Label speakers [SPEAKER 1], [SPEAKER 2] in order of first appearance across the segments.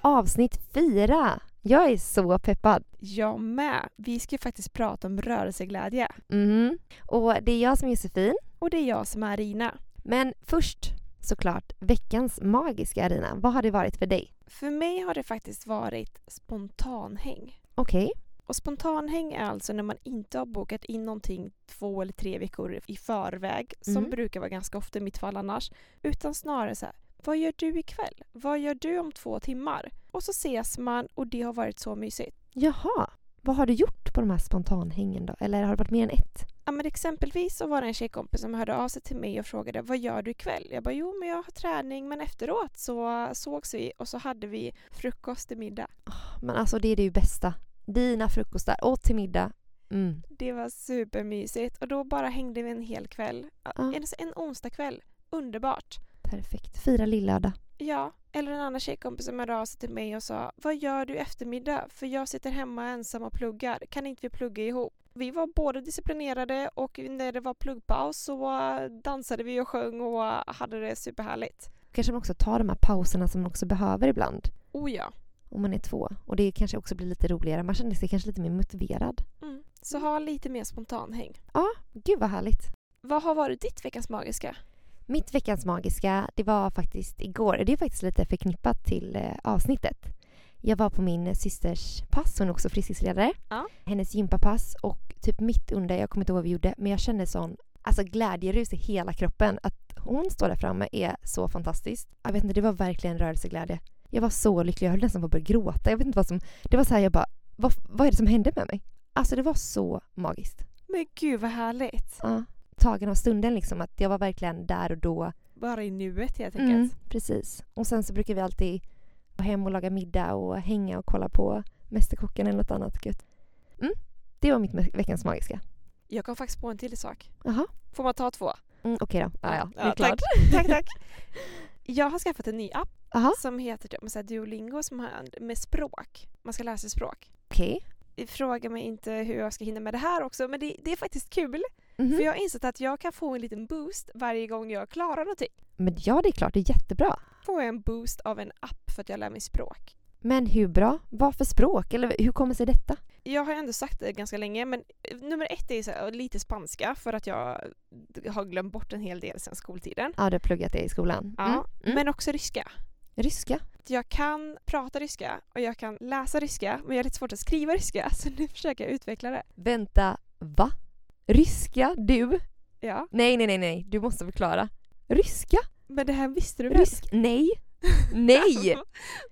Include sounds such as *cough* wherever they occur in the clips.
[SPEAKER 1] avsnitt fyra! Jag är så peppad.
[SPEAKER 2] Jag med. Vi ska ju faktiskt prata om rörelseglädje.
[SPEAKER 1] Mhm. Och det är jag som är Josefin.
[SPEAKER 2] Och det är jag som är Rina.
[SPEAKER 1] Men först såklart veckans magiska Arina. Vad har det varit för dig?
[SPEAKER 2] För mig har det faktiskt varit spontanhäng.
[SPEAKER 1] Okej.
[SPEAKER 2] Och spontanhäng är alltså när man inte har bokat in någonting två eller tre veckor i förväg,
[SPEAKER 1] Mm.
[SPEAKER 2] som brukar vara ganska ofta i mitt fall annars, utan snarare så här, vad gör du ikväll? Vad gör du om två timmar? Och så ses man och det har varit så mysigt.
[SPEAKER 1] Jaha. Vad har du gjort på de här spontanhängen då? Eller har det varit mer än ett?
[SPEAKER 2] Ja, men exempelvis så var det en tjejkompis som hörde av sig till mig och frågade vad gör du ikväll? Jag bara jo men jag har träning men efteråt så sågs vi och så hade vi frukost till middag.
[SPEAKER 1] Men alltså det är det ju bästa. Dina frukostar och till middag. Mm.
[SPEAKER 2] Det var supermysigt och då bara hängde vi en hel kväll.
[SPEAKER 1] Ja.
[SPEAKER 2] En, en onsdagkväll. Underbart.
[SPEAKER 1] Perfekt. Fira lillördag.
[SPEAKER 2] Ja, eller en annan tjejkompis som hörde av sig till mig och sa Vad gör du i eftermiddag? För jag sitter hemma ensam och pluggar. Kan inte vi plugga ihop? Vi var båda disciplinerade och när det var pluggpaus så eh, dansade vi och sjöng och eh, hade det superhärligt.
[SPEAKER 1] Kanske man också tar de här pauserna som man också behöver ibland.
[SPEAKER 2] Oh ja.
[SPEAKER 1] Om man är två. Och det kanske också blir lite roligare. Man känner sig kanske lite mer motiverad.
[SPEAKER 2] Mm. Så ha lite mer spontanhäng.
[SPEAKER 1] Gud vad härligt.
[SPEAKER 2] Vad har varit ditt Veckans Magiska?
[SPEAKER 1] Mitt veckans magiska, det var faktiskt igår. Det är faktiskt lite förknippat till eh, avsnittet. Jag var på min systers pass, hon är också friskisledare.
[SPEAKER 2] Ja.
[SPEAKER 1] Hennes gympapass och typ mitt under, jag kommer inte ihåg vad vi gjorde, men jag kände sån alltså glädjerus i hela kroppen. Att hon står där framme är så fantastiskt. Jag vet inte, det var verkligen rörelseglädje. Jag var så lycklig, jag höll nästan på att börja gråta. Jag vet inte vad som... Det var så här, jag bara, vad, vad är det som hände med mig? Alltså det var så magiskt.
[SPEAKER 2] Men gud vad härligt!
[SPEAKER 1] Ja. Tagen av stunden liksom, att jag var verkligen där och då.
[SPEAKER 2] Bara i nuet helt enkelt.
[SPEAKER 1] Mm, precis. Och sen så brukar vi alltid gå hem och laga middag och hänga och kolla på Mästerkocken eller något annat gött. Mm, det var mitt me- veckans magiska.
[SPEAKER 2] Jag kom faktiskt på en till sak.
[SPEAKER 1] Jaha.
[SPEAKER 2] Får man ta två?
[SPEAKER 1] Mm, Okej då. Ja, ja. Det är
[SPEAKER 2] Ja,
[SPEAKER 1] klart.
[SPEAKER 2] *laughs* Tack, tack! Jag har skaffat en ny app
[SPEAKER 1] Jaha.
[SPEAKER 2] som heter typ så här Duolingo som har med språk. Man ska lära sig språk.
[SPEAKER 1] Okej.
[SPEAKER 2] Fråga mig inte hur jag ska hinna med det här också men det, det är faktiskt kul.
[SPEAKER 1] Mhm.
[SPEAKER 2] För jag har insett att jag kan få en liten boost varje gång jag klarar någonting.
[SPEAKER 1] Men ja, det är klart. Det är jättebra.
[SPEAKER 2] Får jag en boost av en app för att jag lär mig språk.
[SPEAKER 1] Men hur bra? Vad för språk? Eller hur kommer sig detta?
[SPEAKER 2] Jag har ju ändå sagt det ganska länge men eh, nummer ett är så här, lite spanska för att jag har glömt bort en hel del sedan skoltiden.
[SPEAKER 1] Ja, du har pluggat det i skolan.
[SPEAKER 2] Ja,
[SPEAKER 1] Mm. Mm.
[SPEAKER 2] Men också ryska.
[SPEAKER 1] Ryska?
[SPEAKER 2] Jag kan prata ryska och jag kan läsa ryska men jag har lite svårt att skriva ryska *laughs* så nu försöker jag utveckla det.
[SPEAKER 1] Vänta, va? Ryska? Du?
[SPEAKER 2] Ja,
[SPEAKER 1] Nej, nej, nej, nej. Du måste förklara. Ryska?
[SPEAKER 2] men det här visste du väl?
[SPEAKER 1] Rysk? Nej.
[SPEAKER 2] *laughs*
[SPEAKER 1] Nej!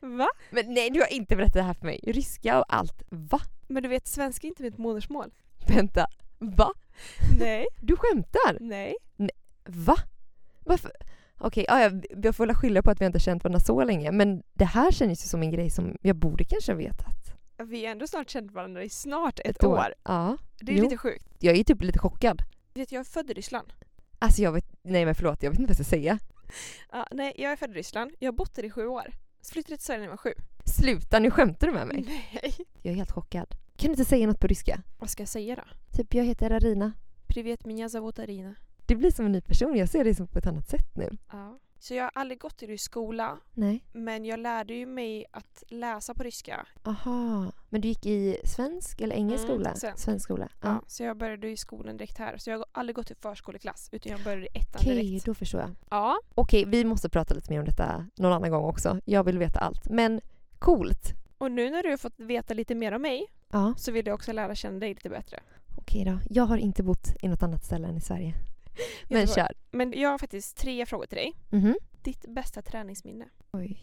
[SPEAKER 2] Va?
[SPEAKER 1] Men nej, du har inte berättat det här för mig. Ryska och allt. Va?
[SPEAKER 2] Men du vet, svenska är inte mitt *laughs* modersmål.
[SPEAKER 1] Vänta. Va?
[SPEAKER 2] Nej,
[SPEAKER 1] Du skämtar?
[SPEAKER 2] nej.
[SPEAKER 1] Va? Varför? Okej, ja, jag, jag får väl skylla på att vi inte har känt varandra så länge. Men det här känns ju som en grej som jag borde kanske ha vetat.
[SPEAKER 2] Vi har ändå snart känt varandra i snart ett,
[SPEAKER 1] Ett
[SPEAKER 2] år.
[SPEAKER 1] Ja.
[SPEAKER 2] Det är
[SPEAKER 1] Jo.
[SPEAKER 2] lite sjukt.
[SPEAKER 1] Jag är ju typ lite chockad.
[SPEAKER 2] Du vet, jag är född i Ryssland.
[SPEAKER 1] Alltså jag vet... Nej men förlåt, jag vet inte vad jag ska säga.
[SPEAKER 2] Ja, nej, jag är född i Ryssland. Jag har bott där i sju år. Så flyttade till Sverige när jag var sju.
[SPEAKER 1] Sluta, nu skämtar du med
[SPEAKER 2] Mm.
[SPEAKER 1] mig.
[SPEAKER 2] Nej.
[SPEAKER 1] Jag är helt chockad. Kan du inte säga något på ryska?
[SPEAKER 2] Vad ska jag säga då?
[SPEAKER 1] Typ, jag heter Arina.
[SPEAKER 2] Privet, меня зовут Arina.
[SPEAKER 1] Det blir som en ny person, jag ser dig som på ett annat sätt nu.
[SPEAKER 2] Ja. Så jag har aldrig gått i rysk skola,
[SPEAKER 1] Nej.
[SPEAKER 2] men jag lärde ju mig att läsa på ryska.
[SPEAKER 1] Aha. Men du gick i svensk eller engelsk
[SPEAKER 2] Mm,
[SPEAKER 1] skola?
[SPEAKER 2] svensk.
[SPEAKER 1] Svensk skola. Ja.
[SPEAKER 2] Ja. Så jag började i skolan direkt här. Så jag har aldrig gått i förskoleklass, utan jag började i ettan
[SPEAKER 1] Okej,
[SPEAKER 2] direkt.
[SPEAKER 1] då förstår jag.
[SPEAKER 2] Ja.
[SPEAKER 1] Okej, vi måste prata lite mer om detta någon annan gång också. Jag vill veta allt. Men coolt.
[SPEAKER 2] Och nu när du har fått veta lite mer om mig
[SPEAKER 1] Ja,
[SPEAKER 2] så vill jag också lära känna dig lite bättre.
[SPEAKER 1] okej då. Jag har inte bott i något annat ställe än i Sverige. Men
[SPEAKER 2] Göteborg.
[SPEAKER 1] kör.
[SPEAKER 2] Men jag har faktiskt tre frågor till dig.
[SPEAKER 1] Mhm.
[SPEAKER 2] Ditt bästa träningsminne?
[SPEAKER 1] Oj.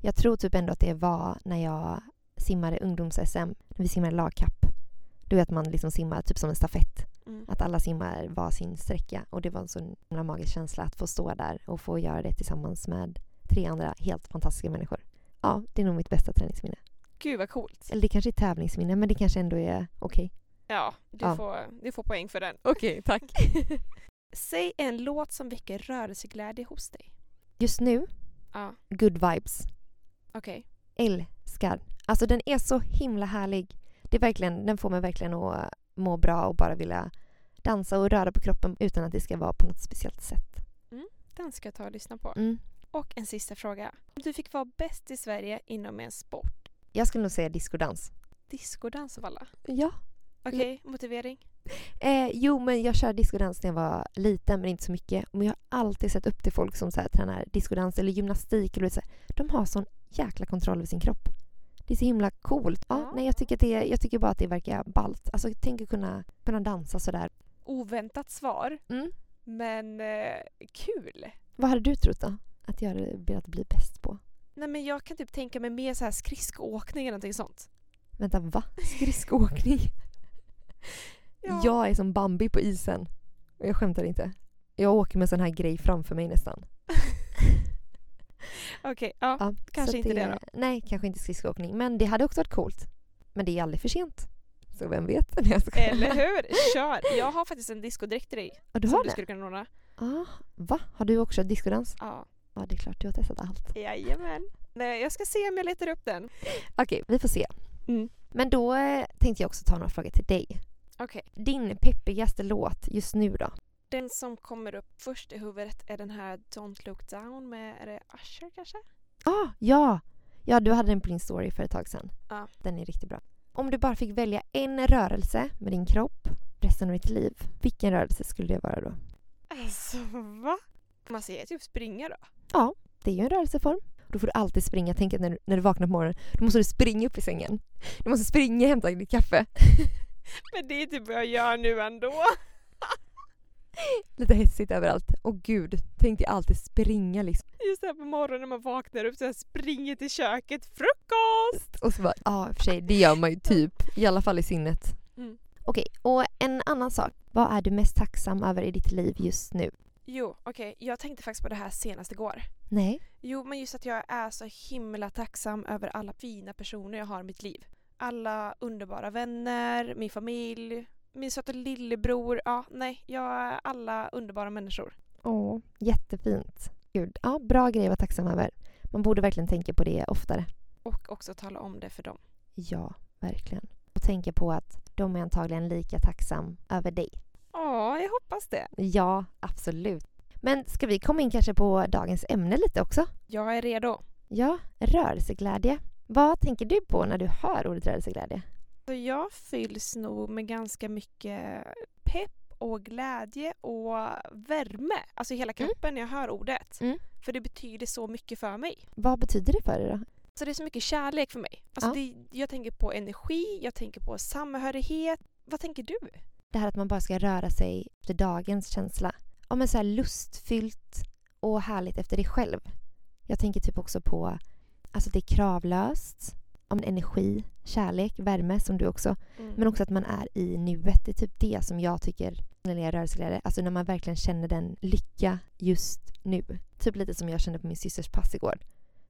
[SPEAKER 1] Jag tror typ ändå att det var när jag simmade ungdoms-SM. När vi simmade lagkapp. Du vet, man liksom simmar typ som en stafett.
[SPEAKER 2] Mm.
[SPEAKER 1] Att alla simmar var sin sträcka. Och det var en så himla magisk känsla att få stå där och få göra det tillsammans med tre andra helt fantastiska människor. Ja, det är nog mitt bästa träningsminne.
[SPEAKER 2] Gud vad coolt.
[SPEAKER 1] Eller det kanske är tävlingsminne, men det kanske ändå är okej.
[SPEAKER 2] Ja, du,
[SPEAKER 1] Ja.
[SPEAKER 2] Får, du får poäng för den.
[SPEAKER 1] Okej, tack.
[SPEAKER 2] Säg en låt som väcker rörelseglädje hos dig.
[SPEAKER 1] Just nu,
[SPEAKER 2] Ja,
[SPEAKER 1] good vibes.
[SPEAKER 2] okej.
[SPEAKER 1] Älskar. Alltså den är så himla härlig. Det är verkligen, den får mig verkligen att må bra och bara vilja dansa och röra på kroppen utan att det ska vara på något speciellt sätt.
[SPEAKER 2] Den ska jag ta och lyssna på.
[SPEAKER 1] Mm.
[SPEAKER 2] Och en sista fråga. Om du fick vara bäst i Sverige inom en sport?
[SPEAKER 1] Jag skulle nog säga diskodans.
[SPEAKER 2] Diskodans av alla?
[SPEAKER 1] Ja.
[SPEAKER 2] Okej,
[SPEAKER 1] Mm.
[SPEAKER 2] motivering?
[SPEAKER 1] Eh, jo, men jag körde diskodans när jag var liten, men inte så mycket. Men jag har alltid sett upp till folk som så här, tränar diskodans eller gymnastik. Eller så här. De har sån jäkla kontroll över sin kropp. Det är så himla coolt. Ja,
[SPEAKER 2] Ja.
[SPEAKER 1] Nej, jag, tycker att det, jag tycker bara att det verkar ballt. Alltså, tänk att kunna, kunna dansa sådär.
[SPEAKER 2] Oväntat svar,
[SPEAKER 1] Mm.
[SPEAKER 2] men eh, kul!
[SPEAKER 1] Vad hade du trott då? Att jag hade velat bli bäst på?
[SPEAKER 2] Nej men jag kan typ tänka mig mer så här skridskoåkning eller någonting sånt.
[SPEAKER 1] Vänta, va? *laughs* Skridskoåkning? Jag är som Bambi på isen. Och Jag skämtar inte. Jag åker med sån här grej framför mig nästan.
[SPEAKER 2] *laughs* Okej, ja.
[SPEAKER 1] Ja,
[SPEAKER 2] kanske
[SPEAKER 1] så att
[SPEAKER 2] inte det
[SPEAKER 1] Nej, kanske inte skridskoåkning. Men det hade också varit coolt. Men det är aldrig för sent. Så vem vet? *laughs* när jag ska-
[SPEAKER 2] Eller hur? Kör! Jag har faktiskt en discodräkt till dig.
[SPEAKER 1] Ja, du
[SPEAKER 2] som
[SPEAKER 1] har
[SPEAKER 2] du
[SPEAKER 1] det?
[SPEAKER 2] skulle kunna ordna.
[SPEAKER 1] Ah, va? Har du också diskodans?
[SPEAKER 2] Ja.
[SPEAKER 1] Ja, det är klart. Du har testat allt.
[SPEAKER 2] Jajamän. Nej, jag ska se om jag letar upp den.
[SPEAKER 1] Okej, vi får se.
[SPEAKER 2] Mm.
[SPEAKER 1] Men då eh, tänkte jag också ta några frågor till dig.
[SPEAKER 2] Okej.
[SPEAKER 1] Din peppigaste låt just nu då?
[SPEAKER 2] Den som kommer upp först i huvudet är den här Don't look down med, är det Usher kanske?
[SPEAKER 1] Ah, ja! Ja, du hade den på din story för ett tag sedan.
[SPEAKER 2] Ja.
[SPEAKER 1] Den är riktigt bra. Om du bara fick välja en rörelse med din kropp resten av ditt liv, vilken rörelse skulle det vara då?
[SPEAKER 2] Alltså va? Man säger typ springa då.
[SPEAKER 1] Det är ju en rörelseform. Då får du alltid springa. Tänk att när du, när du vaknar på morgonen, då måste du springa upp i sängen. Du måste springa och hämta ditt kaffe. *laughs*
[SPEAKER 2] Men det är typ vad jag gör nu ändå. *laughs*
[SPEAKER 1] Lite hetsigt överallt. Och gud, tänk dig alltid springa liksom.
[SPEAKER 2] Just det här på morgonen när man vaknar upp så jag springer till köket. Frukost!
[SPEAKER 1] Och så bara, ja i och för sig, det gör man ju typ. I alla fall i sinnet.
[SPEAKER 2] Mm.
[SPEAKER 1] Okej, och en annan sak. Vad är du mest tacksam över i ditt liv just nu?
[SPEAKER 2] Jo, okej. Jag tänkte faktiskt på det här senast igår.
[SPEAKER 1] Nej.
[SPEAKER 2] Jo, men just att jag är så himla tacksam över alla fina personer jag har i mitt liv. Alla underbara vänner, min familj, min söta lillebror. Ja, nej, jag är alla underbara människor.
[SPEAKER 1] Åh, jättefint. Gud, ja, bra grej att vara tacksam över. Man borde verkligen tänka på det oftare.
[SPEAKER 2] Och också tala om det för dem.
[SPEAKER 1] Ja, verkligen. Och tänka på att de är antagligen lika tacksam över dig.
[SPEAKER 2] Ja, jag hoppas det.
[SPEAKER 1] Ja, absolut. Men ska vi komma in kanske på dagens ämne lite också?
[SPEAKER 2] Jag är redo.
[SPEAKER 1] Ja, rörelseglädje. Vad tänker du på när du hör ordet rörelseglädje?
[SPEAKER 2] Så jag fylls nog med ganska mycket pepp och glädje och värme. Alltså i hela
[SPEAKER 1] Mm.
[SPEAKER 2] kroppen när jag hör ordet.
[SPEAKER 1] Mm.
[SPEAKER 2] För det betyder så mycket för mig.
[SPEAKER 1] Vad betyder det för dig då?
[SPEAKER 2] Så det är så mycket kärlek för mig. Alltså
[SPEAKER 1] Ja.
[SPEAKER 2] det, jag tänker på energi, jag tänker på samhörighet. Vad tänker du?
[SPEAKER 1] Det här att man bara ska röra sig efter dagens känsla. Ja, men så här lustfyllt och härligt efter dig själv. Jag tänker typ också på alltså det är kravlöst, om energi, kärlek, värme som du också.
[SPEAKER 2] Mm.
[SPEAKER 1] Men också att man är i nuet. Det är typ det som jag tycker när jag är rörelseglädje. Alltså när man verkligen känner den lycka just nu. Typ lite som jag kände på min systers pass igår.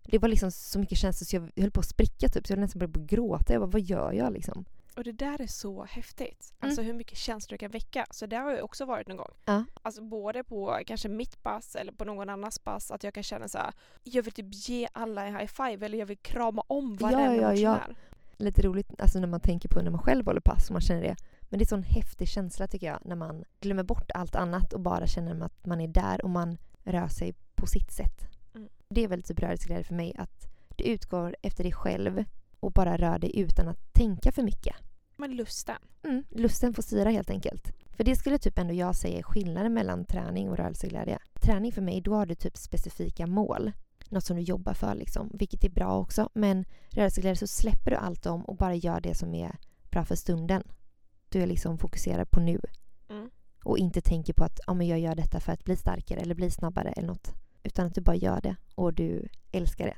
[SPEAKER 1] Det var liksom så mycket känslor så jag höll på att spricka typ. Så jag nästan började på att gråta. Jag bara, vad gör jag liksom?
[SPEAKER 2] Och det där är så häftigt. Alltså hur mycket känslor du kan väcka. Så det har jag också varit någon gång.
[SPEAKER 1] Mm. Ja.
[SPEAKER 2] Alltså både på kanske mitt pass eller på någon annans pass. Att jag kan känna så här. Jag vill typ ge alla en high five eller jag vill krama om
[SPEAKER 1] Ja,
[SPEAKER 2] varenda
[SPEAKER 1] ja, ja.
[SPEAKER 2] motionär.
[SPEAKER 1] lite roligt alltså när man tänker på när man själv håller pass och man känner det. Men det är en sån häftig känsla tycker jag när man glömmer bort allt annat och bara känner att man är där och man rör sig på sitt sätt.
[SPEAKER 2] Mm.
[SPEAKER 1] Det är väl typ rörelseglädje för mig att du utgår efter dig själv och bara rör dig utan att tänka för mycket.
[SPEAKER 2] Men lusten.
[SPEAKER 1] Mm, lusten får styra helt enkelt. För det skulle typ ändå jag säga är skillnaden mellan träning och rörelseglädje. Träning för mig, då har du typ specifika mål. Något som du jobbar för liksom, vilket är bra också. Men rörelseglädje så släpper du allt om och bara gör det som är bra för stunden. Du är liksom fokuserad på nu.
[SPEAKER 2] Mm.
[SPEAKER 1] Och inte tänker på att ja men jag gör detta för att bli starkare eller bli snabbare eller något. Utan att du bara gör det och du älskar det.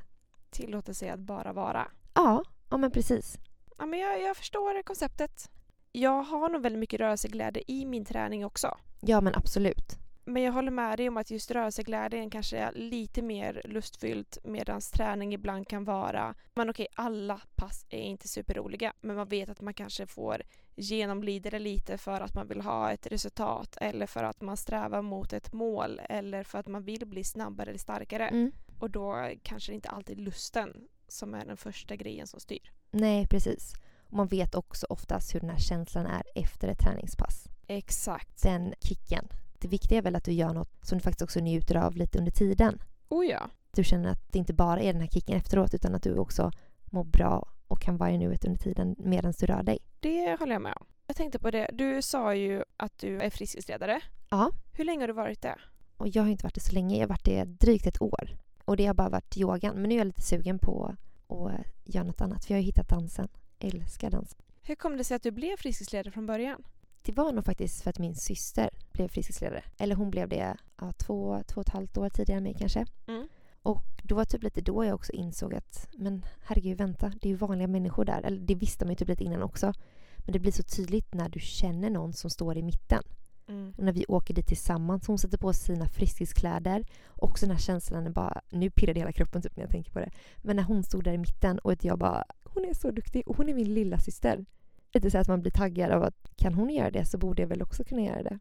[SPEAKER 2] Tillåter sig att bara vara.
[SPEAKER 1] Ja, ja men precis.
[SPEAKER 2] Ja, men jag, jag förstår konceptet. Jag har nog väldigt mycket rörelseglädje i min träning också.
[SPEAKER 1] Ja men absolut.
[SPEAKER 2] Men jag håller med dig om att just rörelseglädjen kanske är lite mer lustfyllt medan träning ibland kan vara, men okej alla pass är inte superroliga men man vet att man kanske får genomlida det lite för att man vill ha ett resultat eller för att man strävar mot ett mål eller för att man vill bli snabbare eller starkare
[SPEAKER 1] Mm.
[SPEAKER 2] och då kanske det inte alltid är lusten som är den första grejen som styr.
[SPEAKER 1] Nej, precis. Och man vet också oftast hur den här känslan är efter ett träningspass.
[SPEAKER 2] Exakt.
[SPEAKER 1] Den kicken. Det viktiga är väl att du gör något som du faktiskt också njuter av lite under tiden.
[SPEAKER 2] Oh ja.
[SPEAKER 1] du känner att det inte bara är den här kicken efteråt utan att du också mår bra och kan vara i nuet under tiden medan du rör dig.
[SPEAKER 2] Det håller jag med om. Jag tänkte på det, du sa ju att du är friskisledare.
[SPEAKER 1] Ja.
[SPEAKER 2] Hur länge har du varit det?
[SPEAKER 1] Och jag har inte varit det så länge, jag har varit det drygt ett år. Och det har bara varit yogan, men nu är jag lite sugen på att göra något annat för jag har ju hittat dansen. Jag älskar dans.
[SPEAKER 2] Hur kom det sig att du blev friskisledare från början?
[SPEAKER 1] Det var nog faktiskt för att min syster blev friskisledare. Eller hon blev det ja, två, två och ett halvt år tidigare än mig kanske.
[SPEAKER 2] Mm.
[SPEAKER 1] Och det var typ lite då jag också insåg att men herregud vänta, det är ju vanliga människor där. Eller det visste man ju typ lite innan också. Men det blir så tydligt när du känner någon som står i mitten.
[SPEAKER 2] Mm.
[SPEAKER 1] Och när vi åker dit tillsammans, hon sätter på sig sina friskiskläder. Också den här känslan, är bara, nu pirrar det hela kroppen typ när jag tänker på det. Men när hon stod där i mitten och att jag bara, hon är så duktig och hon är min lilla syster. Lite så att man blir taggad av att kan hon göra det så borde jag väl också kunna göra det.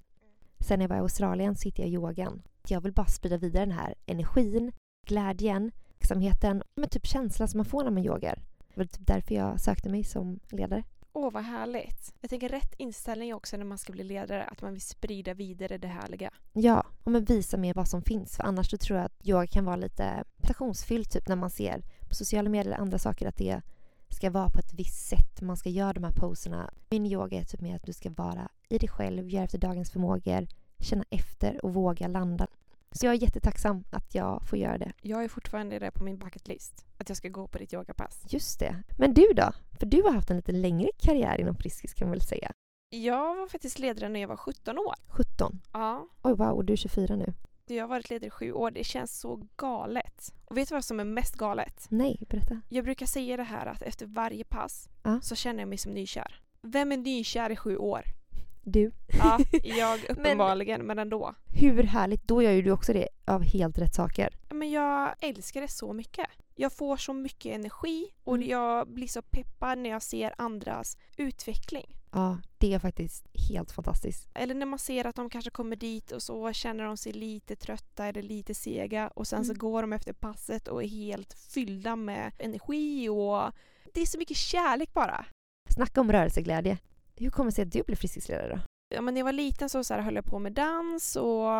[SPEAKER 1] Sen när jag var i Australien så hittade jag yogan. Jag vill bara sprida vidare den här energin, glädjen, tacksamheten, men typ känslan som man får när man yogar. Det var typ därför jag sökte mig som ledare.
[SPEAKER 2] Åh, vad härligt. Jag tänker rätt inställning också när man ska bli ledare, att man vill sprida vidare det härliga.
[SPEAKER 1] Ja, och men visa mer vad som finns. För annars så tror jag att yoga kan vara lite prestationsfyllt typ när man ser på sociala medier eller andra saker att det ska vara på ett visst sätt. Man ska göra de här poserna. Min yoga är typ mer att du ska vara i dig själv, göra efter dagens förmågor, känna efter och våga landa. Så jag är jättetacksam att jag får göra det.
[SPEAKER 2] Jag är fortfarande det på min bucket list, att jag ska gå på ditt yogapass.
[SPEAKER 1] Just det. Men du då? För du har haft en lite längre karriär inom Friskis kan man väl säga?
[SPEAKER 2] Jag var faktiskt ledare när jag var 17 år.
[SPEAKER 1] 17.
[SPEAKER 2] Ja.
[SPEAKER 1] Oj wow, och du är 24 nu.
[SPEAKER 2] Jag har varit ledare i sju år, det känns så galet. Och vet du vad som är mest galet?
[SPEAKER 1] Nej, berätta.
[SPEAKER 2] Jag brukar säga det här att efter varje pass
[SPEAKER 1] Ja.
[SPEAKER 2] så känner jag mig som nykär. Vem är nykär i
[SPEAKER 1] *laughs*
[SPEAKER 2] sju år?
[SPEAKER 1] Du.
[SPEAKER 2] Ja, jag uppenbarligen, men ändå.
[SPEAKER 1] Hur härligt, då gör ju du också det av helt rätt saker.
[SPEAKER 2] Men jag älskar det så mycket. Jag får så mycket energi och
[SPEAKER 1] Mm.
[SPEAKER 2] jag blir så peppad när jag ser andras utveckling.
[SPEAKER 1] Ja, det är faktiskt helt fantastiskt.
[SPEAKER 2] Eller när man ser att de kanske kommer dit och så känner de sig lite trötta eller lite sega och sen
[SPEAKER 1] Mm.
[SPEAKER 2] så går de efter passet och är helt fyllda med energi och det är så mycket kärlek bara.
[SPEAKER 1] Snacka om rörelseglädje. Hur kommer det sig att du blev friskisledare då?
[SPEAKER 2] Ja, men när jag var liten så, så här, höll jag på med dans och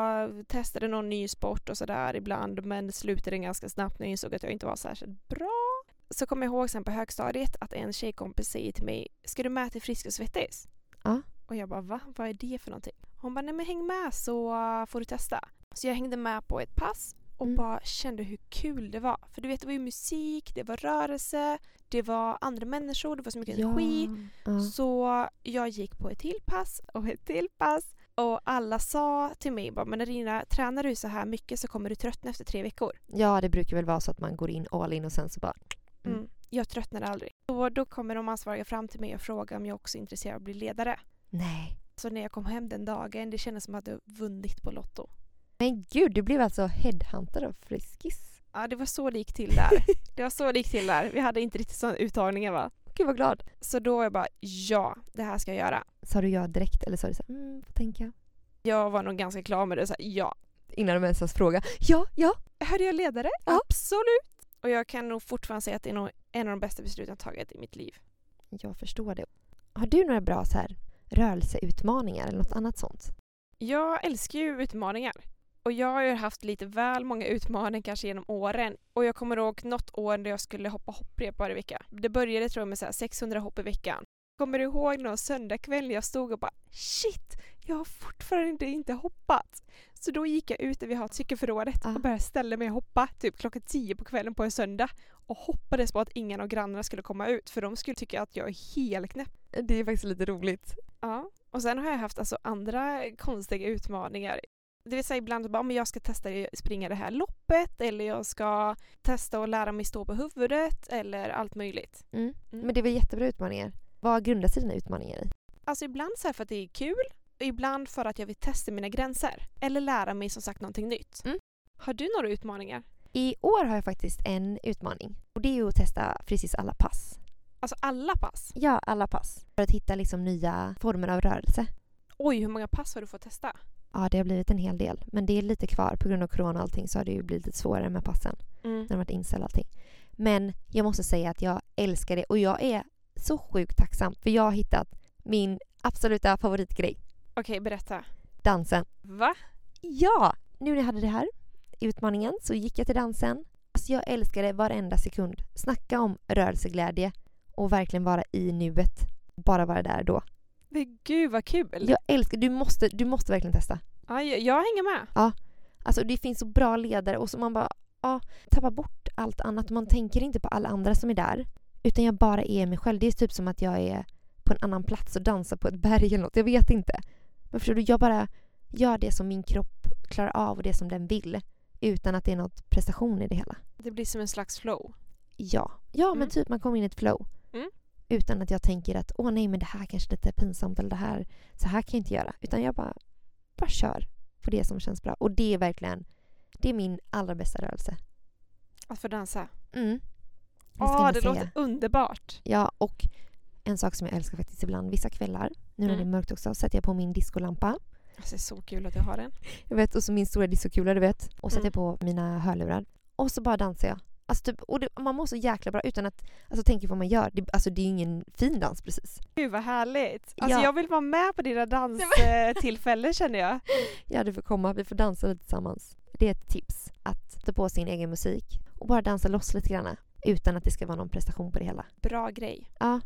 [SPEAKER 2] testade någon ny sport och sådär ibland men slutade ganska snabbt när jag insåg att jag inte var särskilt bra. Så kommer jag ihåg sen på högstadiet att en tjejkompis säger till mig Ska du med till Frisk och Svettis?
[SPEAKER 1] Ja.
[SPEAKER 2] Och jag bara va? Vad är det för någonting? Hon bara nej men häng med så eh, får du testa. Så jag hängde med på ett pass och
[SPEAKER 1] Mm.
[SPEAKER 2] bara kände hur kul det var. För du vet det var ju musik, det var rörelse, det var andra människor, det var så mycket energi.
[SPEAKER 1] Ja.
[SPEAKER 2] Så jag gick på ett till pass och ett till pass och alla sa till mig bara, men Rina, tränar du så här mycket så kommer du tröttna efter tre veckor.
[SPEAKER 1] ja, det brukar väl vara så att man går in all in och sen så bara... Mm.
[SPEAKER 2] Mm. Jag tröttnade aldrig. Och då kommer de ansvariga fram till mig och frågar om jag också är intresserad av att bli ledare.
[SPEAKER 1] Nej.
[SPEAKER 2] Så när jag kom hem den dagen, det kändes som att jag hade vunnit på Lotto.
[SPEAKER 1] Men gud, du blev alltså headhuntad av Friskis.
[SPEAKER 2] Ja, det var så lik till
[SPEAKER 1] *laughs*
[SPEAKER 2] där. *laughs* Det var så lik till där. Vi hade inte riktigt sån uttagningar va?
[SPEAKER 1] Gud vad glad.
[SPEAKER 2] Så då var jag bara, ja, det här ska jag göra.
[SPEAKER 1] Sa du ja direkt eller sa du så här, mm, får tänka?
[SPEAKER 2] Jag var nog ganska klar med det, så här, ja,
[SPEAKER 1] Innan de ens ens fråga. Ja, ja.
[SPEAKER 2] Hörde jag ledare?
[SPEAKER 1] Ja.
[SPEAKER 2] Absolut! Och jag kan nog fortfarande säga att det är nog en av de bästa besluten jag tagit i mitt liv.
[SPEAKER 1] Jag förstår det. Har du några bra så här rörelseutmaningar eller något annat sånt?
[SPEAKER 2] Jag älskar ju utmaningar. Och jag har ju haft lite väl många utmaningar kanske genom åren. Och jag kommer ihåg något år när jag skulle hoppa hopprep varje vecka. Det började tror jag med så här 600 hopp i veckan. Kommer du ihåg någon söndagkväll när jag stod och bara shit, jag har fortfarande inte hoppat. Så då gick jag ut där vi har cykelförrådet
[SPEAKER 1] Ah.
[SPEAKER 2] och började ställa mig och hoppa typ klockan 10 på kvällen på en söndag. Och hoppades på att ingen av grannarna skulle komma ut för de skulle tycka att jag är helknäpp.
[SPEAKER 1] Det är faktiskt lite roligt.
[SPEAKER 2] Ja, och sen har jag haft alltså andra konstiga utmaningar. Det vill säga ibland bara, "Ja, men jag ska testa att springa det här loppet eller jag ska testa att lära mig stå på huvudet eller allt möjligt.
[SPEAKER 1] Mm.
[SPEAKER 2] Mm.
[SPEAKER 1] Men det är väl jättebra utmaningar. Vad grundar sig dina utmaningar i?
[SPEAKER 2] Alltså ibland så här för att det är kul och ibland för att jag vill testa mina gränser eller lära mig som sagt någonting nytt.
[SPEAKER 1] Mm.
[SPEAKER 2] Har du några utmaningar?
[SPEAKER 1] I år har jag faktiskt en utmaning och det är ju att testa precis alla pass.
[SPEAKER 2] Alltså alla pass?
[SPEAKER 1] Ja, alla pass. För att hitta liksom nya former av rörelse.
[SPEAKER 2] Oj, hur många pass har du fått testa?
[SPEAKER 1] Ja, det har blivit en hel del. Men det är lite kvar. På grund av corona och allting så har det ju blivit lite svårare med passen. När de har varit inställda och allting. Men jag måste säga att jag älskar det och jag är så sjukt tacksam för jag har hittat min absoluta favoritgrej.
[SPEAKER 2] Okej, berätta.
[SPEAKER 1] Dansen.
[SPEAKER 2] Va?
[SPEAKER 1] Ja! Nu när jag hade det här, utmaningen, så gick jag till dansen. Alltså jag älskade varenda sekund. Snacka om rörelseglädje och verkligen vara i nuet. Bara vara där då.
[SPEAKER 2] Men gud vad kul!
[SPEAKER 1] Jag älskar, du måste, du måste verkligen testa.
[SPEAKER 2] Ja, jag, jag hänger med.
[SPEAKER 1] Alltså det finns så bra ledare och så man bara ja, tappar bort allt annat. Man tänker inte på alla andra som är där. Utan jag bara är mig själv. Det är typ som att jag är på en annan plats och dansar på ett berg eller något. Jag vet inte. Men förstår du, jag bara gör det som min kropp klarar av och det som den vill. Utan att det är något prestation i det hela.
[SPEAKER 2] Det blir som en slags flow.
[SPEAKER 1] Ja, ja men
[SPEAKER 2] Mm.
[SPEAKER 1] typ man kommer in i ett flow.
[SPEAKER 2] Mm.
[SPEAKER 1] Utan att jag tänker att åh nej men det här kanske är lite pinsamt eller det här, så här kan jag inte göra. Utan jag bara, bara kör på det som känns bra. Och det är verkligen, det är min allra bästa rörelse.
[SPEAKER 2] Att få dansa.
[SPEAKER 1] Mm. Det ska
[SPEAKER 2] Ja,
[SPEAKER 1] man
[SPEAKER 2] det
[SPEAKER 1] säga.
[SPEAKER 2] låter underbart.
[SPEAKER 1] Ja, och en sak som jag älskar faktiskt ibland, vissa kvällar, nu när
[SPEAKER 2] Mm.
[SPEAKER 1] det är mörkt också, sätter jag på min discolampa.
[SPEAKER 2] Alltså, det är så kul att jag har en.
[SPEAKER 1] Jag vet, och så min stora discokula, du vet. Och sätter
[SPEAKER 2] Mm.
[SPEAKER 1] på mina hörlurar. Och så bara dansar jag. Alltså typ, och det, man mår så jäkla bra utan att alltså, tänka på vad man gör. Det, alltså det är ju ingen fin dans precis.
[SPEAKER 2] Gud vad härligt! Alltså
[SPEAKER 1] Ja.
[SPEAKER 2] jag vill vara med på dina
[SPEAKER 1] *laughs*
[SPEAKER 2] danstillfällen känner jag.
[SPEAKER 1] Ja, du får komma. Vi får dansa lite tillsammans. Det är ett tips. Att ta på sin egen musik och bara dansa loss lite grann. Utan att det ska vara någon prestation på det hela.
[SPEAKER 2] Bra grej.
[SPEAKER 1] Ja,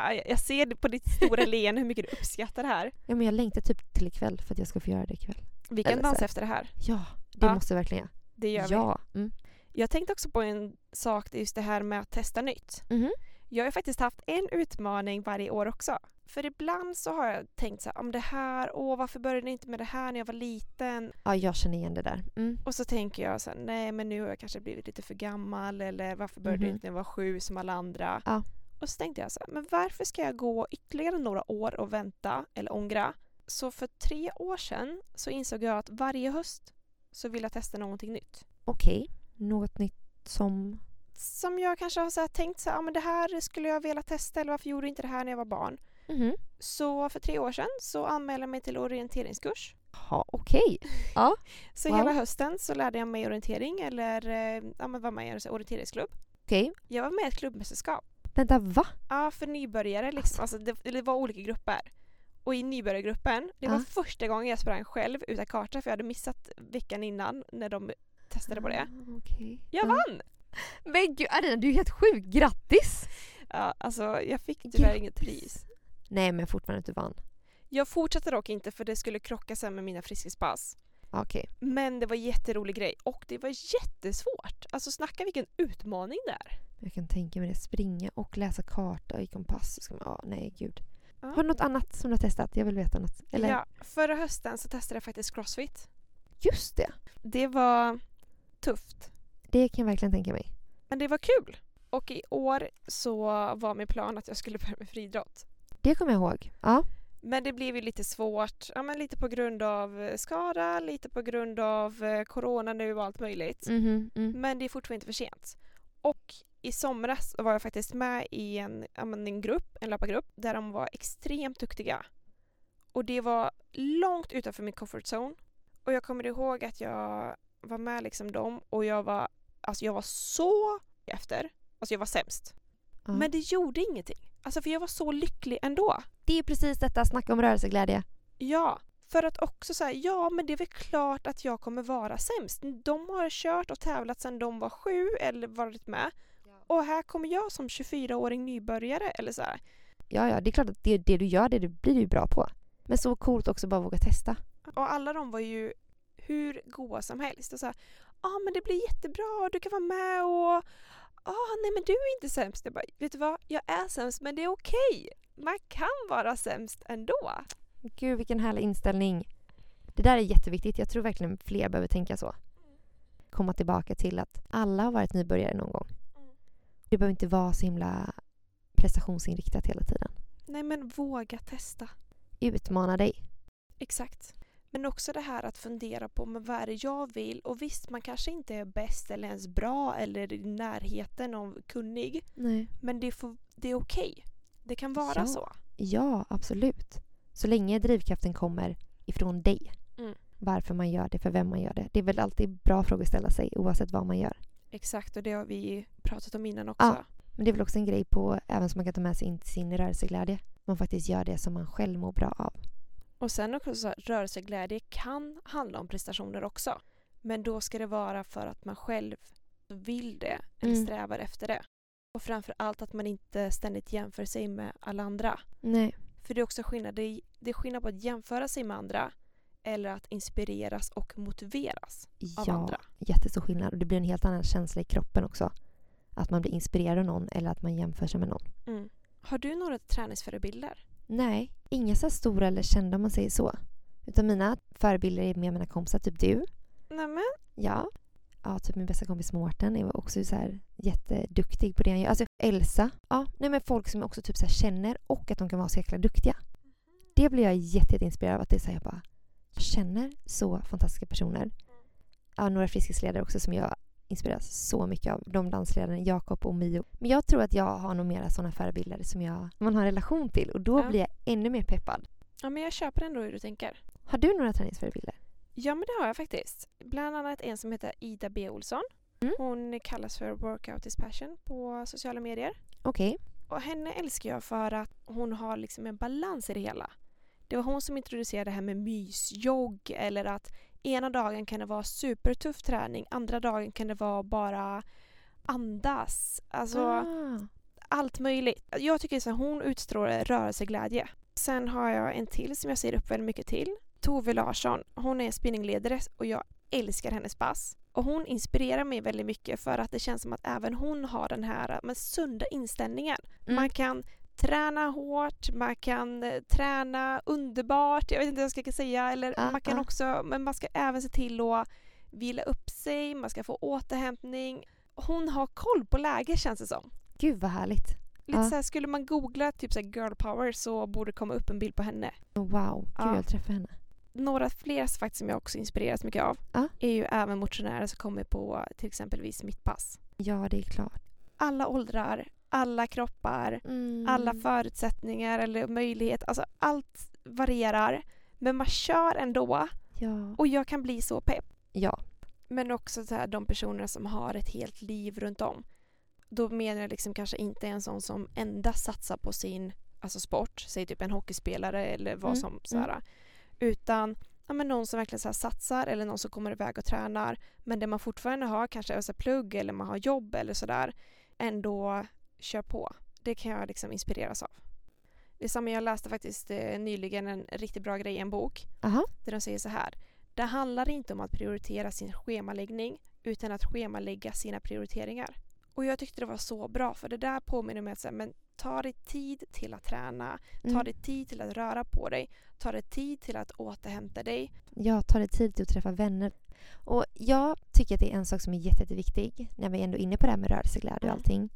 [SPEAKER 2] Ja, Jag jag ser på ditt stora leende hur mycket du uppskattar det här.
[SPEAKER 1] ja men jag längtar typ till ikväll för att jag ska få göra det ikväll.
[SPEAKER 2] Vi kan
[SPEAKER 1] Eller så-
[SPEAKER 2] dansa efter det här.
[SPEAKER 1] Ja, det
[SPEAKER 2] Ja.
[SPEAKER 1] måste jag verkligen göra.
[SPEAKER 2] Det gör vi.
[SPEAKER 1] ja. Mm.
[SPEAKER 2] Jag tänkte också på en sak, det är just det här med att testa nytt.
[SPEAKER 1] Mhm.
[SPEAKER 2] Jag har ju faktiskt haft en utmaning varje år också. För ibland så har jag tänkt så här, om det här, åh varför började ni inte med det här när jag var liten?
[SPEAKER 1] ja, jag känner igen det där. Mm.
[SPEAKER 2] Och så tänker jag så här, nej men nu har jag kanske blivit lite för gammal eller varför började jag
[SPEAKER 1] Mhm.
[SPEAKER 2] inte när jag var sju som alla andra?
[SPEAKER 1] Ja.
[SPEAKER 2] Och så tänkte jag så här, men varför ska jag gå ytterligare några år och vänta eller ångra? Så för tre år sedan så insåg jag att varje höst så vill jag testa någonting nytt.
[SPEAKER 1] Okej, något nytt som...
[SPEAKER 2] Som jag kanske har så här tänkt så här, "Ja, men det här skulle jag vilja testa eller varför gjorde jag inte det här när jag var barn?
[SPEAKER 1] Mhm.
[SPEAKER 2] Så för tre år sedan så anmälde jag mig till orienteringskurs.
[SPEAKER 1] Ja, okej.
[SPEAKER 2] Så
[SPEAKER 1] Wow.
[SPEAKER 2] hela hösten så lärde jag mig orientering eller eh, ja, men var med i en så här orienteringsklubb.
[SPEAKER 1] Okej.
[SPEAKER 2] Jag var med i ett klubbmästerskap.
[SPEAKER 1] Vänta, va?
[SPEAKER 2] Ja, för nybörjare liksom. Alltså, det, det var olika grupper. Och i nybörjargruppen, det var
[SPEAKER 1] Ja.
[SPEAKER 2] första gången jag sprang själv utan karta för jag hade missat veckan innan när de testade på det.
[SPEAKER 1] Ah, Okej.
[SPEAKER 2] Jag
[SPEAKER 1] Ja.
[SPEAKER 2] vann!
[SPEAKER 1] Men gud Arina, du är helt sjuk! Grattis!
[SPEAKER 2] Ja, alltså jag fick tyvärr inget
[SPEAKER 1] Grattis.
[SPEAKER 2] pris.
[SPEAKER 1] Nej, men fortfarande att du vann.
[SPEAKER 2] Jag fortsatte dock inte för det skulle krocka sen med mina friskispass.
[SPEAKER 1] Ah, Okej.
[SPEAKER 2] Men det var en jätterolig grej och det var jättesvårt. Alltså snacka vilken utmaning det är.
[SPEAKER 1] Jag kan tänka mig det. Springa och läsa karta i kompass. Så Ska man, ah, nej, gud.
[SPEAKER 2] Ja.
[SPEAKER 1] Har du något annat som du har testat? Jag vill veta något. Eller?
[SPEAKER 2] Ja, förra hösten så testade jag faktiskt crossfit.
[SPEAKER 1] Just det!
[SPEAKER 2] Det var tufft,
[SPEAKER 1] Det kan jag verkligen tänka mig.
[SPEAKER 2] men det var kul. Och i år så var min plan att jag skulle *laughs* börja med friidrott.
[SPEAKER 1] Det kommer jag ihåg. Ja.
[SPEAKER 2] Men det blev ju lite svårt, ja, men lite på grund av eh, skada, lite på grund av eh, corona nu och allt möjligt.
[SPEAKER 1] Mhm, mm.
[SPEAKER 2] Men det är fortfarande inte för sent. Och i somras var jag faktiskt med i en, ja, men en grupp, en löpargrupp, där de var extremt duktiga. Och det var långt utanför min comfort zone. Och jag kommer ihåg att jag var med liksom dem och jag var, alltså jag var så efter. Alltså jag var sämst.
[SPEAKER 1] Ja.
[SPEAKER 2] Men det gjorde ingenting. Alltså för jag var så lycklig ändå.
[SPEAKER 1] Det är precis detta, snacka om rörelseglädje.
[SPEAKER 2] Ja, för att också säga ja men det är väl klart att jag kommer vara sämst. De har kört och tävlat sedan de var sju eller varit med. Och här kommer jag som 24-åring nybörjare eller så här.
[SPEAKER 1] Ja, ja, det är klart att det, det du gör, det, det blir du ju bra på. Men så coolt också bara våga testa.
[SPEAKER 2] Och alla de var ju hur goa som helst och så här, ja ah, men det blir jättebra och du kan vara med och ah, nej men du är inte sämst. Jag bara, vet du vad, jag är sämst men det är okej. Man kan vara sämst ändå.
[SPEAKER 1] Gud vilken härlig inställning. Det där är jätteviktigt. Jag tror verkligen fler behöver tänka så. Komma tillbaka till att alla har varit nybörjare någon gång. Det behöver inte vara så himla prestationsinriktat hela tiden.
[SPEAKER 2] Nej men våga testa.
[SPEAKER 1] Utmana dig.
[SPEAKER 2] Exakt. Men också det här att fundera på men vad är det jag vill och visst man kanske inte är bäst eller ens bra eller i närheten av kunnig
[SPEAKER 1] Nej.
[SPEAKER 2] men det, får, det är okej. Det kan vara
[SPEAKER 1] Ja.
[SPEAKER 2] så.
[SPEAKER 1] Ja, absolut. Så länge drivkraften kommer ifrån dig.
[SPEAKER 2] Mm.
[SPEAKER 1] Varför man gör det, för vem man gör det. Det är väl alltid bra frågor att ställa sig oavsett vad man gör.
[SPEAKER 2] Exakt och det har vi pratat om innan också.
[SPEAKER 1] Ja. Men det är väl också en grej på även som man kan ta med sig in till sin rörelseglädje. Man faktiskt gör det som man själv mår bra av.
[SPEAKER 2] Och sen också så här, rörelseglädje kan handla om prestationer också. Men då ska det vara för att man själv vill det eller
[SPEAKER 1] Mm.
[SPEAKER 2] strävar efter det. Och framför allt att man inte ständigt jämför sig med alla andra.
[SPEAKER 1] Nej.
[SPEAKER 2] För det är också skillnad, det är, det är skillnad på att jämföra sig med andra eller att inspireras och motiveras av
[SPEAKER 1] Ja,
[SPEAKER 2] andra.
[SPEAKER 1] jättestor skillnad. Och det blir en helt annan känsla i kroppen också. Att man blir inspirerad av någon eller att man jämför sig med någon.
[SPEAKER 2] Mm. Har du några träningsförebilder?
[SPEAKER 1] Nej, inga så här stora eller kända om man säger så. Utan mina förebilder är med mina kompisar, typ du.
[SPEAKER 2] Nämen,
[SPEAKER 1] Ja. Ja, typ min bästa kompis Mårten är också så här jätteduktig på det han gör. Alltså Elsa. Ja, nej men folk som jag också typ så här känner och att de kan vara så jäkla duktiga. Det blir jag jätte, jätteinspirerad av. Att det är så här, jag bara jag känner så fantastiska personer. Ja, några friskisledare också som jag inspireras så mycket av. De dansledarna Jakob och Mio. Men jag tror att jag har nog mera sådana förebilder som jag, man har en relation till och då
[SPEAKER 2] Ja.
[SPEAKER 1] blir jag ännu mer peppad.
[SPEAKER 2] ja, men jag köper ändå hur du tänker.
[SPEAKER 1] Har du några träningsförebilder?
[SPEAKER 2] Ja, men det har jag faktiskt. Bland annat en som heter Ida B Olsson.
[SPEAKER 1] Mm.
[SPEAKER 2] Hon kallas för Workout is Passion på sociala medier.
[SPEAKER 1] Okej.
[SPEAKER 2] Och henne älskar jag för att hon har liksom en balans i det hela. Det var hon som introducerade det här med mysjogg eller att ena dagen kan det vara supertuff träning, andra dagen kan det vara bara andas. Alltså
[SPEAKER 1] Ah.
[SPEAKER 2] allt möjligt. Jag tycker att hon utstrålar rörelseglädje. Sen har jag en till som jag ser upp väldigt mycket till. Tove Larsson. Hon är spinningledare och jag älskar hennes pass. Och hon inspirerar mig väldigt mycket för att det känns som att även hon har den här men, sunda inställningen.
[SPEAKER 1] Mm.
[SPEAKER 2] Man kan träna hårt, man kan eh, träna underbart, jag vet inte vad jag ska säga. Eller
[SPEAKER 1] Ah,
[SPEAKER 2] man kan
[SPEAKER 1] ah.
[SPEAKER 2] också, men man ska även se till att vila upp sig, man ska få återhämtning. Hon har koll på läget känns det som.
[SPEAKER 1] Gud vad härligt.
[SPEAKER 2] Lite
[SPEAKER 1] Ja.
[SPEAKER 2] så här, skulle man googla typ så här girl power så borde det komma upp en bild på henne.
[SPEAKER 1] Wow, gud
[SPEAKER 2] Ja.
[SPEAKER 1] jag vill träffa henne.
[SPEAKER 2] Några fler faktiskt som jag också inspireras mycket av
[SPEAKER 1] Ja.
[SPEAKER 2] är ju även motionärer som kommer på till exempelvis mitt pass.
[SPEAKER 1] Ja, det är klart.
[SPEAKER 2] Alla åldrar, alla kroppar,
[SPEAKER 1] Mm.
[SPEAKER 2] alla förutsättningar eller möjlighet, alltså allt varierar. Men man kör ändå
[SPEAKER 1] ja.
[SPEAKER 2] och jag kan bli så pepp.
[SPEAKER 1] ja,
[SPEAKER 2] Men också så här, de personer som har ett helt liv runt om. Då menar jag liksom kanske inte en sån som endast satsar på sin alltså sport, säg typ en hockeyspelare eller vad
[SPEAKER 1] Mm,
[SPEAKER 2] som så här, Utan ja, men någon som verkligen så här, satsar eller någon som kommer iväg och tränar men det man fortfarande har kanske är så här, plugg eller man har jobb eller sådär ändå kör på. Det kan jag liksom inspireras av. Detsamma, jag läste faktiskt eh, nyligen en riktigt bra grej i en bok
[SPEAKER 1] aha.
[SPEAKER 2] där de säger så här. Det handlar inte om att prioritera sin schemaläggning utan att schemalägga sina prioriteringar. Och jag tyckte det var så bra för det där påminner mig att så här, men ta dig tid till att träna, ta
[SPEAKER 1] Mm.
[SPEAKER 2] dig tid till att röra på dig, ta dig tid till att återhämta dig.
[SPEAKER 1] Ja, ta dig tid till att träffa vänner. Och jag tycker att det är en sak som är jätte, jätteviktig när vi ändå är inne på det här med rörelseglädje och
[SPEAKER 2] Mm.
[SPEAKER 1] allting.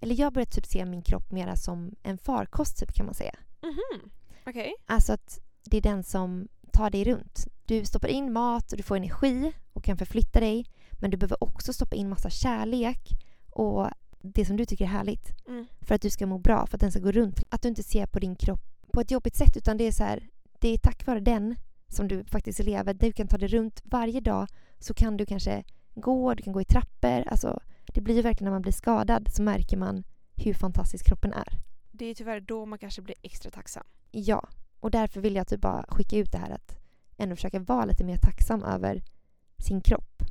[SPEAKER 1] Eller jag börjar typ se min kropp mera som en farkost typ kan man säga. Mm-hmm.
[SPEAKER 2] Mhm, Okej.
[SPEAKER 1] Alltså att det är den som tar dig runt. Du stoppar in mat och du får energi och kan förflytta dig. Men du behöver också stoppa in massa kärlek och det som du tycker är härligt.
[SPEAKER 2] Mm.
[SPEAKER 1] För att du ska må bra, för att den ska gå runt. Att du inte ser på din kropp på ett jobbigt sätt utan det är så här, det är tack vare den som du faktiskt lever. Du kan ta dig runt varje dag så kan du kanske gå, du kan gå i trappor. Alltså, det blir ju verkligen när man blir skadad så märker man hur fantastisk kroppen är.
[SPEAKER 2] Det är tyvärr då man kanske blir extra tacksam.
[SPEAKER 1] Ja, och därför vill jag typ bara skicka ut det här att ändå försöka vara lite mer tacksam över sin kropp.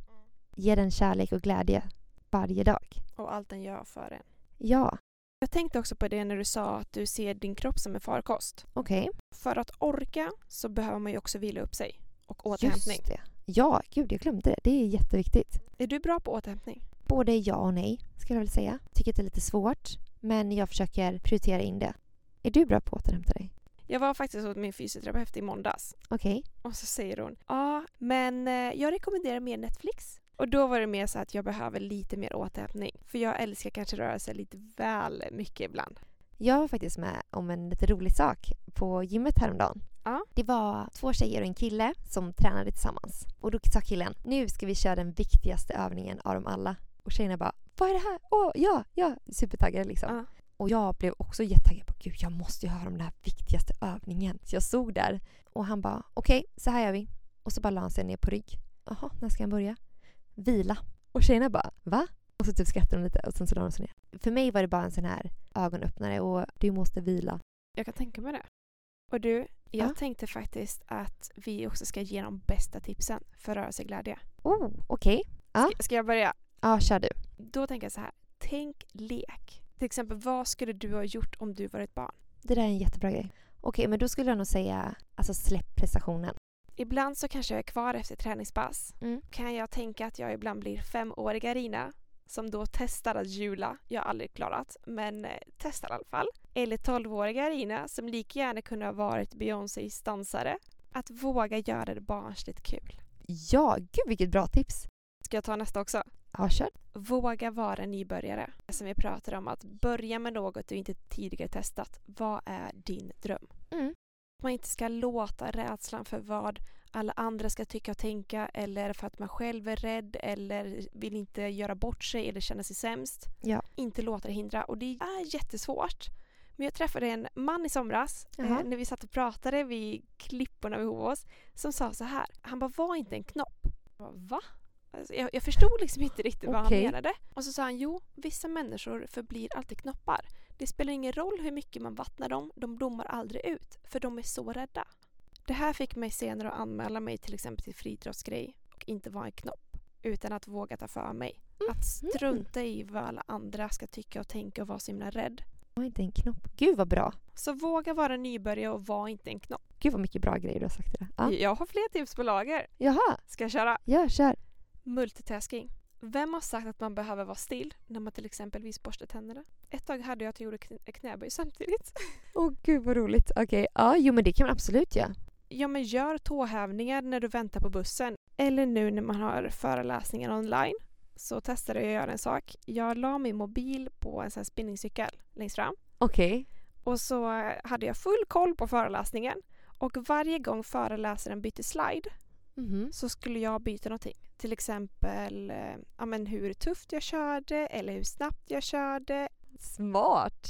[SPEAKER 1] Ge den kärlek och glädje varje dag.
[SPEAKER 2] Och allt den gör för en.
[SPEAKER 1] Ja,
[SPEAKER 2] Jag tänkte också på det när du sa att du ser din kropp som en farkost.
[SPEAKER 1] okej.
[SPEAKER 2] För att orka så behöver man ju också vila upp sig och återhämtning.
[SPEAKER 1] Just det. Ja, gud jag glömde det. Det är jätteviktigt.
[SPEAKER 2] Är du bra på återhämtning?
[SPEAKER 1] Både ja och nej, skulle jag vilja säga. Tycker att det är lite svårt, men jag försöker prioritera in det. Är du bra på att återhämta dig?
[SPEAKER 2] Jag var faktiskt hos min fysioterapeut i måndags
[SPEAKER 1] Okej.
[SPEAKER 2] och så säger hon ja, men eh, jag rekommenderar mer Netflix. Och då var det mer så att jag behöver lite mer återhämtning. För jag älskar kanske röra sig lite väl mycket ibland.
[SPEAKER 1] Jag var faktiskt med om en lite rolig sak på gymmet häromdagen.
[SPEAKER 2] Ja.
[SPEAKER 1] Det var två tjejer och en kille som tränade tillsammans. Och då sa killen, nu ska vi köra den viktigaste övningen av dem alla. Och tjejerna bara, vad är det här? Åh, ja, ja! Supertaggade liksom.
[SPEAKER 2] Ja.
[SPEAKER 1] Och jag blev också jättetaggad. Jag bara, Gud, jag måste ju höra om den här viktigaste övningen. Så jag stod där och han bara, okej, så här gör vi. Och så bara la han sig ner på rygg. Jaha, när ska han börja? Vila. Och tjejerna bara, va? Och så typ skrattade de lite och sen så la de sig ner. För mig var det bara en sån här ögonöppnare och du måste vila.
[SPEAKER 2] Jag kan tänka mig det. Och du, jag
[SPEAKER 1] Ja.
[SPEAKER 2] tänkte faktiskt att vi också ska ge de bästa tipsen för rörelseglädje.
[SPEAKER 1] Oh, okej. Ja.
[SPEAKER 2] Ska- Ska jag börja?
[SPEAKER 1] Ja, kör du.
[SPEAKER 2] Då tänker jag så här, tänk lek. Till exempel, vad skulle du ha gjort om du var ett barn?
[SPEAKER 1] Det där är en jättebra grej. Okej, men då skulle jag nog säga alltså släpp prestationen.
[SPEAKER 2] Ibland så kanske jag är kvar efter träningspass.
[SPEAKER 1] Mm.
[SPEAKER 2] Kan jag tänka att jag ibland blir femåriga Rina som då testar att hjula. Jag har aldrig klarat, men eh, testar i alla fall. Eller tolvåriga Rina som lika gärna kunde ha varit Beyoncés dansare. Att våga göra det barnsligt kul.
[SPEAKER 1] Ja, gud vilket bra tips.
[SPEAKER 2] Ska jag ta nästa också?
[SPEAKER 1] Ja, kör.
[SPEAKER 2] Våga vara nybörjare. Som vi pratade om, att börja med något du inte tidigare testat. Vad är din dröm?
[SPEAKER 1] Mm.
[SPEAKER 2] Att Man inte ska låta rädslan för vad alla andra ska tycka och tänka eller för att man själv är rädd eller vill inte göra bort sig eller känna sig sämst.
[SPEAKER 1] Ja.
[SPEAKER 2] Inte låta det hindra och det är jättesvårt. Men jag träffade en man i somras
[SPEAKER 1] Jaha.
[SPEAKER 2] eh, när vi satt och pratade vid klipporna vid Hovås som sa så här. Han bara, var inte en knopp. Jag bara, va? Alltså, jag,
[SPEAKER 1] *laughs*
[SPEAKER 2] jag förstod liksom inte riktigt vad
[SPEAKER 1] Okej.
[SPEAKER 2] han menade. Och så sa han, jo, vissa människor förblir alltid knoppar. Det spelar ingen roll hur mycket man vattnar dem, de blommar aldrig ut, för de är så rädda. Det här fick mig senare att anmäla mig till exempel till friidrottsgrej och inte vara en knopp, utan att våga ta för mig. Att
[SPEAKER 1] Mhm.
[SPEAKER 2] strunta i vad alla andra ska tycka och tänka och vara så himla rädd.
[SPEAKER 1] Var inte en knopp. Gud vad bra.
[SPEAKER 2] Så våga vara nybörjare och var inte en knopp.
[SPEAKER 1] Gud vad mycket bra grejer du har sagt idag. Ja.
[SPEAKER 2] Jag har fler tips på lager.
[SPEAKER 1] Jaha,
[SPEAKER 2] Ska jag köra?
[SPEAKER 1] ja kör.
[SPEAKER 2] Multitasking. Vem har sagt att man behöver vara still när man till exempelvis borstar tänderna? Ett tag hade jag att jag gjorde knä- knäböj *laughs* samtidigt.
[SPEAKER 1] Åh gud vad roligt. Okej, ja jo men det kan man absolut göra.
[SPEAKER 2] Ja men gör tåhävningar när du väntar på bussen. Eller nu när man har föreläsningar online. Så testade jag att göra en sak. Jag la min mobil på en sån här spinningcykel längst fram.
[SPEAKER 1] Okej.
[SPEAKER 2] Och så eh, hade jag full koll på föreläsningen. Och varje gång föreläsaren bytte slide
[SPEAKER 1] Mhm.
[SPEAKER 2] så skulle jag byta någonting. Till exempel eh, ja, men hur tufft jag körde eller hur snabbt jag körde.
[SPEAKER 1] Smart.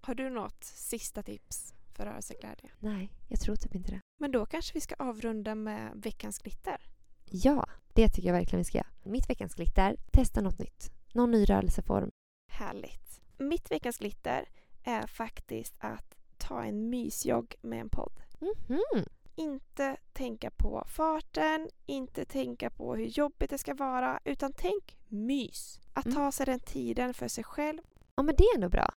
[SPEAKER 2] Har du något sista tips för rörelseglädje?
[SPEAKER 1] Nej, jag tror typ inte det.
[SPEAKER 2] Men då kanske vi ska avrunda med veckans glitter.
[SPEAKER 1] Ja, det tycker jag verkligen vi ska göra. Mitt veckans glitter, testa något nytt. Någon ny rörelseform.
[SPEAKER 2] Härligt. Mitt veckans glitter är faktiskt att ta en mysjogg med en podd.
[SPEAKER 1] Mhm.
[SPEAKER 2] Inte tänka på farten, inte tänka på hur jobbigt det ska vara, utan tänk mys. Att
[SPEAKER 1] Mm.
[SPEAKER 2] ta sig den tiden för sig själv.
[SPEAKER 1] Ja men det är ändå bra.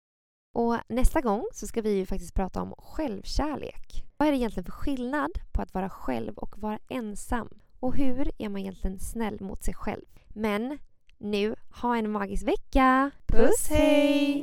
[SPEAKER 1] Och nästa gång så ska vi ju faktiskt prata om självkärlek. Vad är det egentligen för skillnad på att vara själv och vara ensam? Och hur är man egentligen snäll mot sig själv? Men nu, ha en magisk vecka!
[SPEAKER 2] Puss, hej!